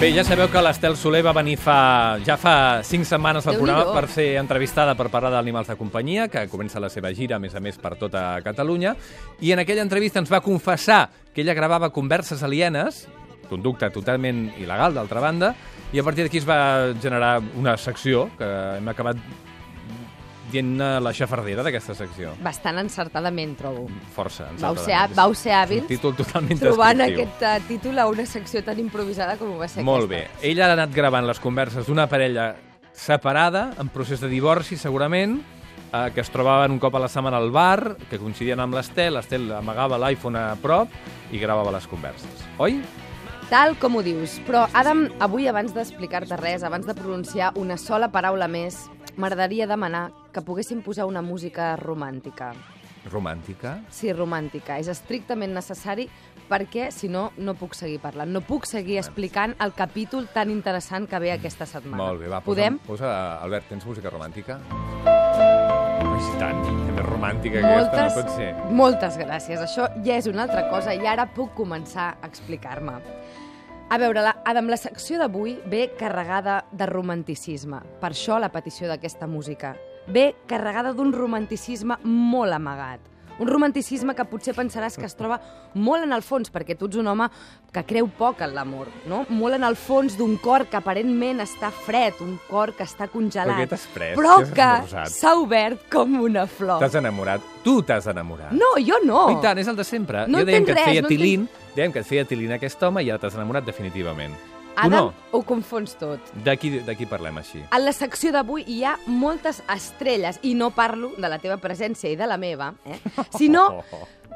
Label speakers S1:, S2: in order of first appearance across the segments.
S1: Bé, ja sabeu que l'Estel Soler va venir fa, ja fa 5 setmanes al
S2: Déu-n'hi-do.
S1: programa per ser entrevistada per parlar d'Animals de Companyia, que comença la seva gira, a més a més, per tota Catalunya, i en aquella entrevista ens va confessar que ella gravava converses alienes, conducta totalment il·legal, d'altra banda, i a partir d'aquí es va generar una secció que hem acabat dient la xafardera d'aquesta secció.
S2: Bastant encertadament, trobo.
S1: Força. ens
S2: Vau
S1: ha
S2: ser,
S1: agradat.
S2: vau ser
S1: És un
S2: hàbils
S1: Títol totalment
S2: trobant
S1: descriptiu.
S2: aquest eh, títol a una secció tan improvisada com ho va ser
S1: Molt bé.
S2: aquesta.
S1: Ella ha anat gravant les converses d'una parella separada, en procés de divorci, segurament, eh, que es trobaven un cop a la setmana al bar, que coincidien amb l'Estel, l'Estel amagava l'iPhone a prop i gravava les converses. Oi?
S2: Tal com ho dius. Però, Adam, avui, abans d'explicar-te res, abans de pronunciar una sola paraula més, m'agradaria demanar que poguéssim posar una música romàntica.
S1: Romàntica.
S2: Sí, romàntica. És estrictament necessari perquè, si no, no puc seguir parlant. No puc seguir explicant el capítol tan interessant que ve aquesta setmana.
S1: Molt bé, va, posa,
S2: Podem?
S1: posa... Albert, tens música romàntica? Ai, sí, tant. Que més romàntica que aquesta
S2: Moltes,
S1: no pot ser.
S2: moltes gràcies. Això ja és una altra cosa i ara puc començar a explicar-me. A veure, la, Adam, la secció d'avui ve carregada de romanticisme. Per això la petició d'aquesta música. Ve carregada d'un romanticisme molt amagat. Un romanticisme que potser pensaràs que es troba molt en el fons, perquè tu ets un home que creu poc en l'amor, no? Molt en el fons d'un cor que aparentment està fred, un cor que
S1: Però
S2: està
S1: què
S2: congelat,
S1: t'has pres?
S2: però
S1: Què has
S2: que
S1: esmorzat?
S2: s'ha obert com una flor.
S1: T'has enamorat. Tu t'has enamorat.
S2: No, jo no.
S1: I tant, és el de sempre.
S2: No
S1: jo dèiem
S2: entenc
S1: que et
S2: res,
S1: feia
S2: no entenc-
S1: tilín, dèiem que et feia tilín aquest home i ara t'has enamorat definitivament.
S2: Adam,
S1: Tu no.
S2: ho confons tot.
S1: D'aquí d'aquí parlem així.
S2: En la secció d'avui hi ha moltes estrelles, i no parlo de la teva presència i de la meva, eh?
S1: Oh.
S2: sinó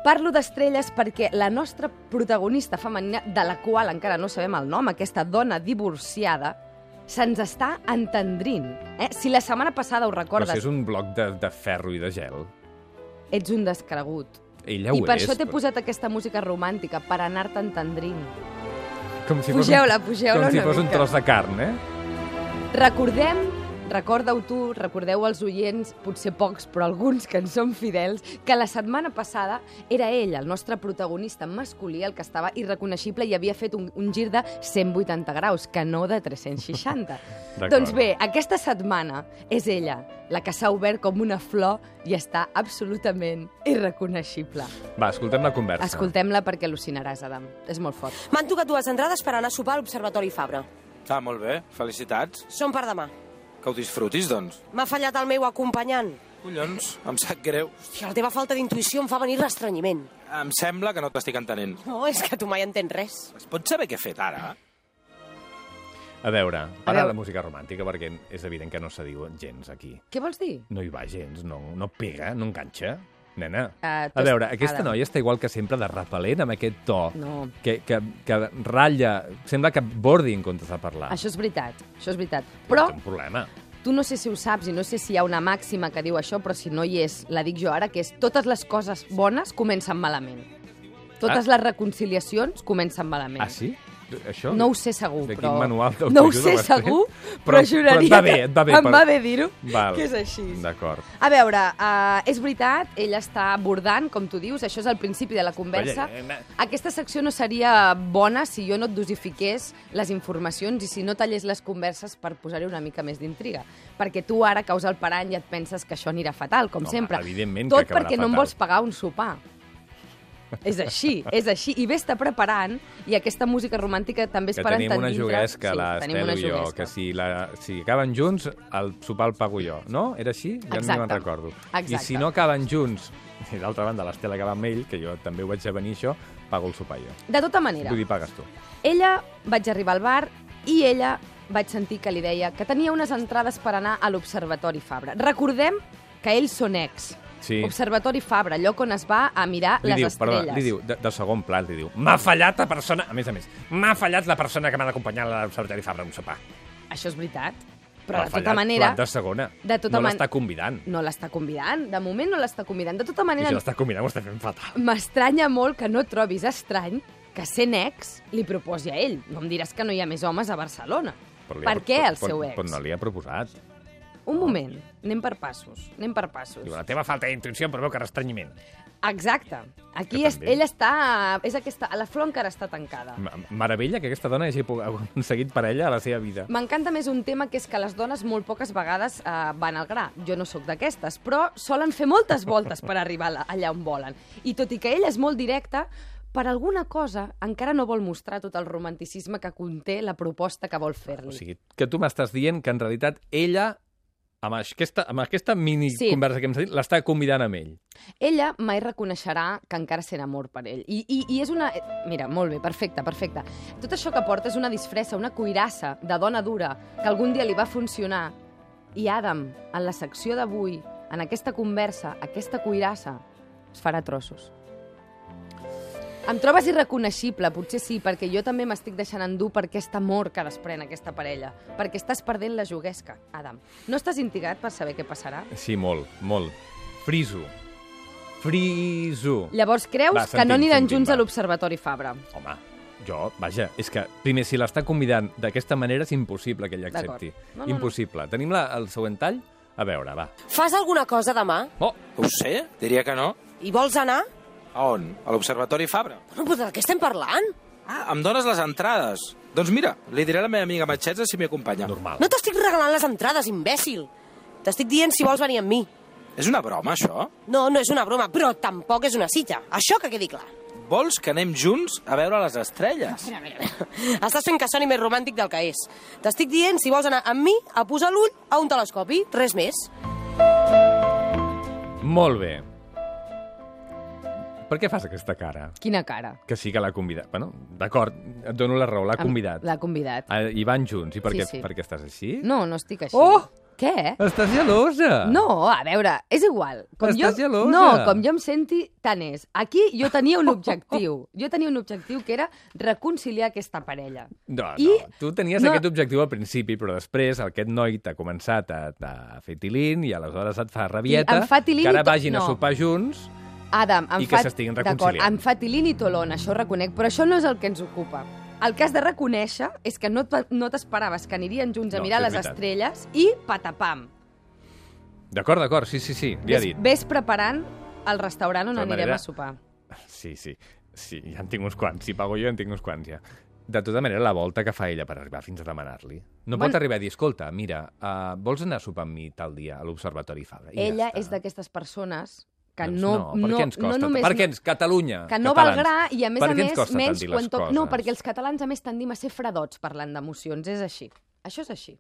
S2: parlo d'estrelles perquè la nostra protagonista femenina, de la qual encara no sabem el nom, aquesta dona divorciada, se'ns està entendrint. Eh? Si la setmana passada ho
S1: Però
S2: recordes,
S1: si és un bloc de, de ferro i de gel.
S2: ets un descregut.
S1: Ella ho
S2: I per
S1: és.
S2: això t'he
S1: però-
S2: posat aquesta música romàntica, per anar-te entendrint.
S1: Com si fos un-
S2: Pugeu-la, pugeu-la
S1: Com si
S2: una
S1: fos un
S2: mica.
S1: tros de carn, eh?
S2: Recordem, recorda-ho tu, recordeu els oients, potser pocs, però alguns que en som fidels, que la setmana passada era ell, el nostre protagonista masculí, el que estava irreconeixible i havia fet un, un gir de 180 graus, que no de 360.
S1: D'acord.
S2: doncs bé, aquesta setmana és ella, la que s'ha obert com una flor i està absolutament irreconeixible.
S1: Va, escoltem la conversa.
S2: Escoltem-la perquè al·lucinaràs, Adam. És molt fort.
S3: M'han tocat dues entrades per anar a sopar a l'Observatori Fabra.
S4: Ah, molt bé. Felicitats.
S3: Són per demà.
S4: Que ho disfrutis, doncs.
S3: M'ha fallat el meu acompanyant.
S4: Collons, em sap greu.
S3: Hòstia, la teva falta d'intuïció em fa venir restrenyiment.
S4: Em sembla que no t'estic entenent.
S3: No, és que tu mai entens res.
S4: Es pot saber què he fet ara?
S1: A veure, para
S2: veure.
S1: la música romàntica, perquè és evident que no se diu gens aquí.
S2: Què vols dir?
S1: No hi va gens, no, no pega, no enganxa. Nena,
S2: Ah, tu
S1: a veure,
S2: est-
S1: aquesta
S2: Adam.
S1: noia està igual que sempre de repel·lent amb aquest to
S2: No.
S1: que, que, que ratlla, sembla que bordi en comptes de parlar.
S2: Això és veritat, això és veritat. Però
S1: Té un problema.
S2: Tu no sé si ho saps i no sé si hi ha una màxima que diu això, però si no hi és, la dic jo ara, que és totes les coses bones comencen malament. Totes ah. les reconciliacions comencen malament.
S1: Ah, sí? Això?
S2: No ho sé segur,
S1: De quin
S2: però...
S1: manual
S2: no ho
S1: d'autoajuda
S2: sé
S1: ho has tret?
S2: segur,
S1: Però-
S2: però,
S1: però
S2: però
S1: et
S2: juraria...
S1: va bé,
S2: que-
S1: et va bé
S2: Em
S1: per-
S2: va bé dir-ho,
S1: Val.
S2: que és així.
S1: D'acord.
S2: A veure, uh, és veritat, ell està abordant, com tu dius, això és el principi de la conversa.
S1: Vaja, eh,
S2: Aquesta secció no seria bona si jo no et dosifiqués les informacions i si no tallés les converses per posar-hi una mica més d'intriga. Perquè tu ara caus el parany i et penses que això anirà fatal, com
S1: Home,
S2: sempre.
S1: evidentment que
S2: Tot
S1: acabarà
S2: perquè no em
S1: fatal.
S2: vols pagar un sopar. És així, és així. I ves-te preparant, i aquesta música romàntica també és
S1: Que
S2: per
S1: tenim una
S2: entendindre-
S1: juguesca, sí,
S2: tenim
S1: l'Estel
S2: una
S1: i jo,
S2: juguesca.
S1: que si, la, si acaben junts, el sopar el pago jo, no? Era així? Ja no
S2: Exacte.
S1: me'n recordo. I
S2: Exacte.
S1: si no acaben junts, i d'altra banda l'Estel acaba amb ell, que jo també ho vaig a venir això, pago el sopar jo.
S2: De tota manera,
S1: Vull dir, pagues tu.
S2: Ella vaig arribar al bar i ella vaig sentir que li deia que tenia unes entrades per anar a l'Observatori Fabra. Recordem que ells són ex.
S1: Sí.
S2: Observatori Fabra, lloc on es va a mirar
S1: Li
S2: les
S1: diu,
S2: estrelles.
S1: li diu, de, de segon pla, li diu, m'ha fallat la persona, a més a més, m'ha fallat la persona que m'ha d'acompanyar a l'Observatori Fabra a un sopar.
S2: Això és veritat. Però
S1: M'ha
S2: de
S1: fallat,
S2: tota manera,
S1: plat de segona.
S2: de tota
S1: no
S2: man-
S1: l'està convidant.
S2: no l'està convidant. De moment no l'està convidant. De tota
S1: I
S2: manera,
S1: si l'està convidant ho està fent fatal.
S2: m'estranya molt que no trobis estrany que sent ex li proposi a ell. No em diràs que no hi ha més homes a Barcelona.
S1: Però li ha
S2: per
S1: pro-
S2: què el
S1: però-
S2: seu ex?
S1: Però no li ha proposat.
S2: Un moment, anem per passos, anem per passos.
S1: Diu, la teva falta d'intuïció em provoca restrenyiment.
S2: Exacte. Aquí
S1: Jo
S2: és,
S1: també.
S2: ell està... És aquesta, la flor encara està tancada.
S1: M- Meravella que aquesta dona hagi po- aconseguit parella a la seva vida.
S2: M'encanta més un tema que és que les dones molt poques vegades eh, van al gra. Jo no sóc d'aquestes, però solen fer moltes voltes per arribar la- allà on volen. I tot i que ell és molt directe, per alguna cosa encara no vol mostrar tot el romanticisme que conté la proposta que vol fer-li.
S1: O sigui, que tu m'estàs dient que en realitat ella, amb aquesta, amb aquesta mini
S2: Sí.
S1: conversa que hem sentit, l'està convidant amb ell.
S2: Ella mai reconeixerà que encara sent amor per ell. I, i, I és una... eh, Mira, molt bé, perfecte, perfecte. Tot això que porta és una disfressa, una cuirassa de dona dura que algun dia li va funcionar. I Adam, en la secció d'avui, en aquesta conversa, aquesta cuirassa, es farà a trossos. Em trobes irreconeixible, potser sí, perquè jo també m'estic deixant endur per aquest amor que desprèn aquesta parella, perquè estàs perdent la juguesca, Adam. No estàs intrigat per saber què passarà?
S1: Sí, molt, molt. Friso. Friso.
S2: Llavors creus
S1: Va,
S2: que
S1: sentim,
S2: no aniran
S1: sentim,
S2: junts
S1: va.
S2: a l'Observatori Fabra.
S1: Home, jo, vaja, és que, primer, si l'està convidant d'aquesta manera, és impossible que ell
S2: D'acord.
S1: accepti.
S2: No, no, no.
S1: impossible. Tenim la, el següent tall? A veure, va.
S3: Fas alguna cosa demà?
S1: Oh,
S4: Ho sé, diria que no.
S3: I vols anar?
S4: A on? A l'Observatori Fabra.
S3: No, però de què estem parlant?
S4: Ah, em dones les entrades. Doncs mira, li diré a la meva amiga Matxetza si m'hi acompanya.
S1: normal.
S3: No t'estic regalant les entrades, imbècil. T'estic dient si vols venir amb mi.
S4: És una broma, això?
S3: No, no és una broma, però tampoc és una cita. Això que quedi clar.
S4: Vols que anem junts a veure les estrelles?
S3: Mira, mira, mira. Estàs fent que soni més romàntic del que és. T'estic dient si vols anar amb mi a posar l'ull a un telescopi, res més.
S1: Molt bé. Per què fas aquesta cara?
S2: Quina cara.
S1: Que sí que l'ha convidat. Bueno, d'acord, et dono la raó, l'ha
S2: Em-
S1: convidat.
S2: L'ha convidat.
S1: Ah, I van junts. I per,
S2: Sí,
S1: què,
S2: sí.
S1: per què estàs així?
S2: No, no estic així.
S1: Oh!
S2: Què?
S1: Estàs gelosa!
S2: No, a veure, és igual. Com
S1: Estàs
S2: jo...
S1: gelosa.
S2: No, com jo em senti, tant és. Aquí jo tenia un objectiu. Jo tenia un objectiu que era reconciliar aquesta parella.
S1: No,
S2: I-
S1: no. Tu tenies
S2: no.
S1: no. aquest objectiu al principi, però després aquest noi t'ha començat a, a fer tilín i aleshores et fa rabieta
S2: em fa tilín
S1: que
S2: i
S1: ara
S2: tot-
S1: vagin
S2: no.
S1: a sopar junts.
S2: Adam, em
S1: I que
S2: fa-
S1: s'estiguin
S2: d'acord,
S1: reconciliant.
S2: Em fa tilín i tolón, això ho reconec, però això no és el que ens ocupa. El que has de reconèixer és que no t- no t'esperaves que anirien junts a
S1: No,
S2: mirar
S1: això és
S2: les
S1: veritat.
S2: estrelles i patapam.
S1: D'acord, d'acord, sí, sí, sí, li ha dit.
S2: Ves preparant el restaurant on
S1: De tota
S2: anirem
S1: manera-
S2: a sopar.
S1: Sí, sí, sí, ja en tinc uns quants. Si pago jo, en tinc uns quants, ja. De tota manera, la volta que fa ella per arribar fins a demanar-li. No
S2: Bueno.
S1: pot arribar a dir, escolta, mira, uh, vols anar a sopar amb mi tal dia a l'Observatori Fabra? I
S2: Ella
S1: ja
S2: és d'aquestes persones que
S1: Doncs
S2: no...
S1: no, per què ens costa?
S2: No només,
S1: per què ens... Catalunya,
S2: que no
S1: catalans.
S2: valgrà i, a més
S1: per
S2: a
S1: què ens
S2: més,
S1: costa tant
S2: menys
S1: dir les
S2: quan toc... No,
S1: coses?
S2: perquè els catalans, a més, tendim a ser fredots parlant d'emocions. És així. Això és així.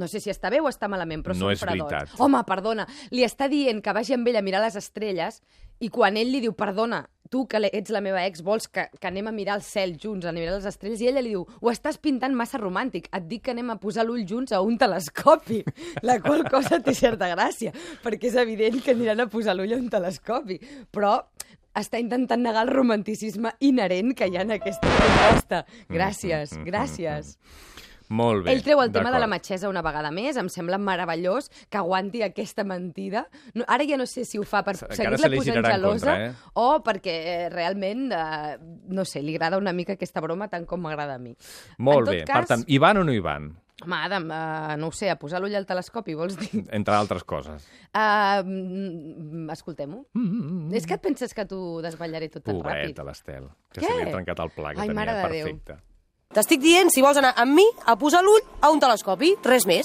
S2: No sé si està bé o està malament, però
S1: No
S2: són
S1: és
S2: fredots.
S1: veritat.
S2: Home, perdona, li està dient que vagi amb ell a mirar les estrelles i quan ell li diu, perdona, tu que le- ets la meva ex, vols que, que anem a mirar el cel junts, a mirar les estrelles, i ella li diu, ho estàs pintant massa romàntic, et dic que anem a posar l'ull junts a un telescopi, la qual cosa té certa gràcia, perquè és evident que aniran a posar l'ull a un telescopi, però està intentant negar el romanticisme inherent que hi ha en aquesta proposta.
S1: Mm,
S2: Gràcies, gràcies.
S1: Molt bé.
S2: Ell treu el tema de la
S1: d'acord.
S2: matxesa una vegada més, em sembla meravellós que aguanti aquesta mentida. No, ara ja no sé si ho fa per
S1: Se- encara se
S2: seguir-la
S1: li
S2: posant
S1: girarà en
S2: gelosa
S1: contra, eh?
S2: o perquè eh, realment, eh, no sé, li agrada una mica aquesta broma tant com m'agrada a mi.
S1: Molt
S2: en tot
S1: bé.
S2: Cas,
S1: Per tant, hi van o no hi van?
S2: Home, Adam, eh, no ho sé, a posar l'ull al telescopi, vols dir?
S1: Entre altres coses.
S2: Uh, Escoltem-ho. Mm, És que et penses que t'ho desballaré tot tan ràpid?
S1: Pobreta, l'Estel, que
S2: Què?
S1: se li ha trencat el pla que
S2: Ai,
S1: tenia
S2: mare de Déu.
S1: perfecte.
S3: T'estic dient si vols anar amb mi a posar l'ull a un telescopi, res més.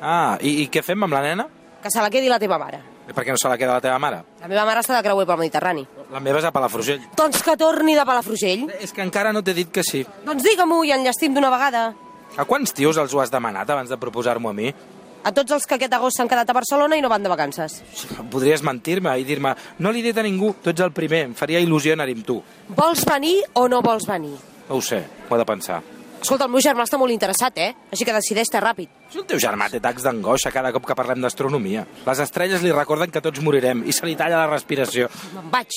S4: Ah, i, i què fem amb la nena?
S3: Que se la quedi la teva mare.
S4: Per què no se la queda la teva mare?
S3: La meva mare està de creuer pel Mediterrani.
S4: La meva és a Palafrugell.
S3: Doncs que torni de Palafrugell.
S4: És que encara no t'he dit que sí.
S3: Doncs digue-m'ho i enllestim d'una vegada.
S4: A quants tios els ho has demanat abans de proposar-m'ho a mi?
S3: A tots els que aquest agost s'han quedat a Barcelona i no van de vacances.
S4: Podries mentir-me i dir-me no l'hi he dit a ningú, tu ets el primer, em faria il·lusió anar-hi amb tu.
S3: Vols venir o no vols venir?
S4: No ho sé, ho he de pensar.
S3: Escolta, el meu germà està molt interessat, eh? Així que decideix-te ràpid.
S4: Si el teu germà té tacs d'angoixa cada cop que parlem d'astronomia. Les estrelles li recorden que tots morirem i se li talla la respiració.
S3: Me'n vaig.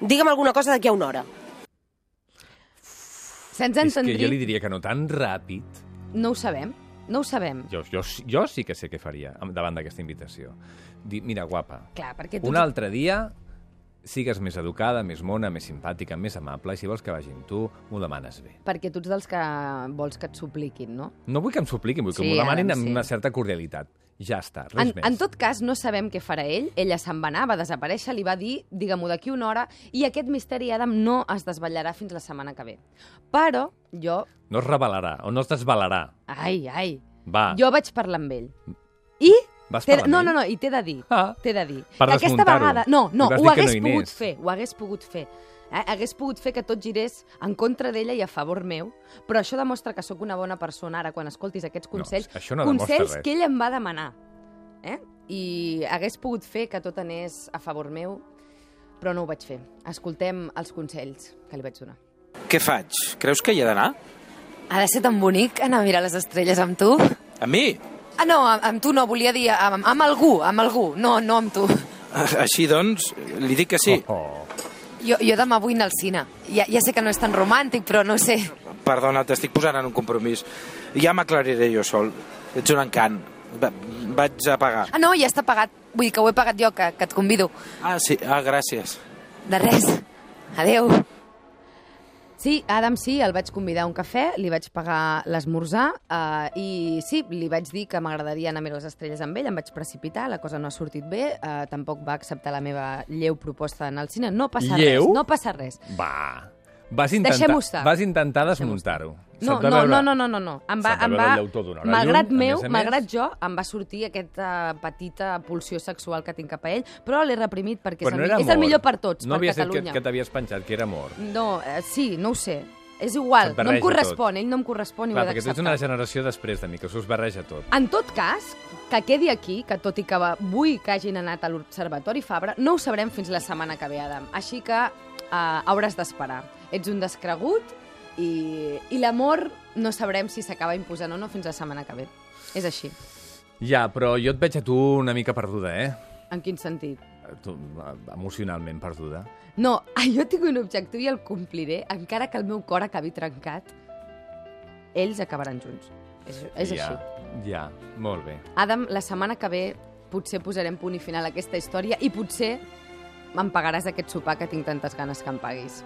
S3: Digue'm alguna cosa d'aquí a una hora.
S2: Se'ns ha
S1: És que
S2: entendrit,
S1: jo li diria que no tan ràpid.
S2: no ho sabem, no ho sabem.
S1: Jo, jo, jo sí que sé què faria amb- davant d'aquesta invitació. Dir, mira, guapa,
S2: Clar, perquè tu...
S1: un altre dia sigues més educada, més mona, més simpàtica, més amable, i si vols que vagi amb tu, m'ho demanes bé.
S2: perquè tu ets dels que vols que et supliquin, no?
S1: No vull que em supliquin, vull que
S2: Sí,
S1: m'ho demanin
S2: Adam,
S1: amb
S2: sí.
S1: una certa cordialitat. Ja està, res
S2: En,
S1: més.
S2: en tot cas, no sabem què farà ell. Ella se'n va anar, va desaparèixer, li va dir, digue-m'ho d'aquí una hora, i aquest misteri, Adam, no es desvetllarà fins la setmana que ve. Però jo...
S1: No es revelarà, o no es desvelarà.
S2: Ai, ai.
S1: Va,
S2: Jo vaig parlar amb ell. I...
S1: vas
S2: t'he-
S1: parlar
S2: No,
S1: amb
S2: no,
S1: ell?
S2: no, i t'he de dir.
S1: Ah.
S2: T'he de dir.
S1: Per
S2: que aquesta
S1: desmuntar-ho.
S2: vegada... No, no,
S1: Li vas
S2: ho
S1: dir que
S2: hagués
S1: no hi
S2: pogut
S1: anés.
S2: fer, ho hagués pogut fer. Eh, hagués pogut fer que tot girés en contra d'ella i a favor meu, però això demostra que sóc una bona persona ara quan escoltis aquests consells,
S1: això no demostra
S2: consells
S1: res.
S2: que ella em va demanar. Eh? I hagués pogut fer que tot anés a favor meu, però no ho vaig fer. Escoltem els consells que li vaig donar.
S4: Què faig? Creus que hi ha d'anar?
S5: Ha de ser tan bonic anar a mirar les estrelles amb tu?
S4: A mi?
S5: Ah, no, amb, amb tu no, volia dir amb, amb algú, amb algú, no, no amb tu.
S4: Així, doncs, li dic que sí.
S1: Oh,
S5: Jo, jo demà vull anar al cine. Ja, ja sé que no és tan romàntic, però no sé.
S4: Perdona, t'estic posant en un compromís. Ja m'aclariré jo sol. Ets un encant. Va, vaig a pagar.
S5: Ah, no, ja està pagat. Vull dir que ho he pagat jo, que, que et convido.
S4: Ah, sí. Ah, gràcies.
S5: De res. Adeu.
S2: Sí, Adam sí, el vaig convidar a un cafè, li vaig pagar l'esmorzar eh, i sí, li vaig dir que m'agradaria anar a mirar les estrelles amb ell, em vaig precipitar, la cosa no ha sortit bé, eh, tampoc va acceptar la meva lleu proposta d'anar al cine, no passa
S1: Lleu?
S2: res, no passa res.
S1: va. Vas intentar,
S2: Deixem-ho estar.
S1: vas intentar
S2: Deixem-ho
S1: desmuntar-ho.
S2: No,
S1: Se't va
S2: no,
S1: veure-
S2: no, no, no, no, no. Em va,
S1: Se't va
S2: em
S1: veure
S2: va,
S1: el llautó d'una hora
S2: malgrat
S1: lluny, a
S2: meu,
S1: més a més.
S2: malgrat jo, em va sortir aquesta petita eh, pulsió sexual que tinc cap a ell, però l'he reprimit perquè
S1: Però
S2: és,
S1: no
S2: el,
S1: era
S2: mi- és el
S1: amor.
S2: millor per tots,
S1: no
S2: per
S1: havia
S2: Catalunya.
S1: No que, que t'havies penjat, que era amor.
S2: No, eh, sí, no ho sé. És
S1: Se't
S2: igual, no
S1: barreja
S2: em correspon, ell no em correspon i
S1: Clar,
S2: ho
S1: perquè
S2: he
S1: tu
S2: d'acceptar.
S1: ets una generació després de mi, que s'ho es barreja tot.
S2: En tot cas, que quedi aquí, que tot i que va- vull que hagin anat a l'Observatori Fabra, no ho sabrem fins la setmana que ve, Adam. Així que eh, hauràs d'esperar. Ets un descregut i, i l'amor no sabrem si s'acaba imposant o no fins la setmana que ve. És així.
S1: Ja, però jo et veig a tu una mica perduda, eh?
S2: En quin sentit?
S1: Tu, eh, emocionalment perduda.
S2: No, jo tinc un objectiu i el compliré, encara que el meu cor acabi trencat. Ells acabaran junts. És, és
S1: ja,
S2: així.
S1: Ja, molt bé.
S2: Adam, la setmana que ve potser posarem punt i final a aquesta història i potser em pagaràs aquest sopar que tinc tantes ganes que em paguis.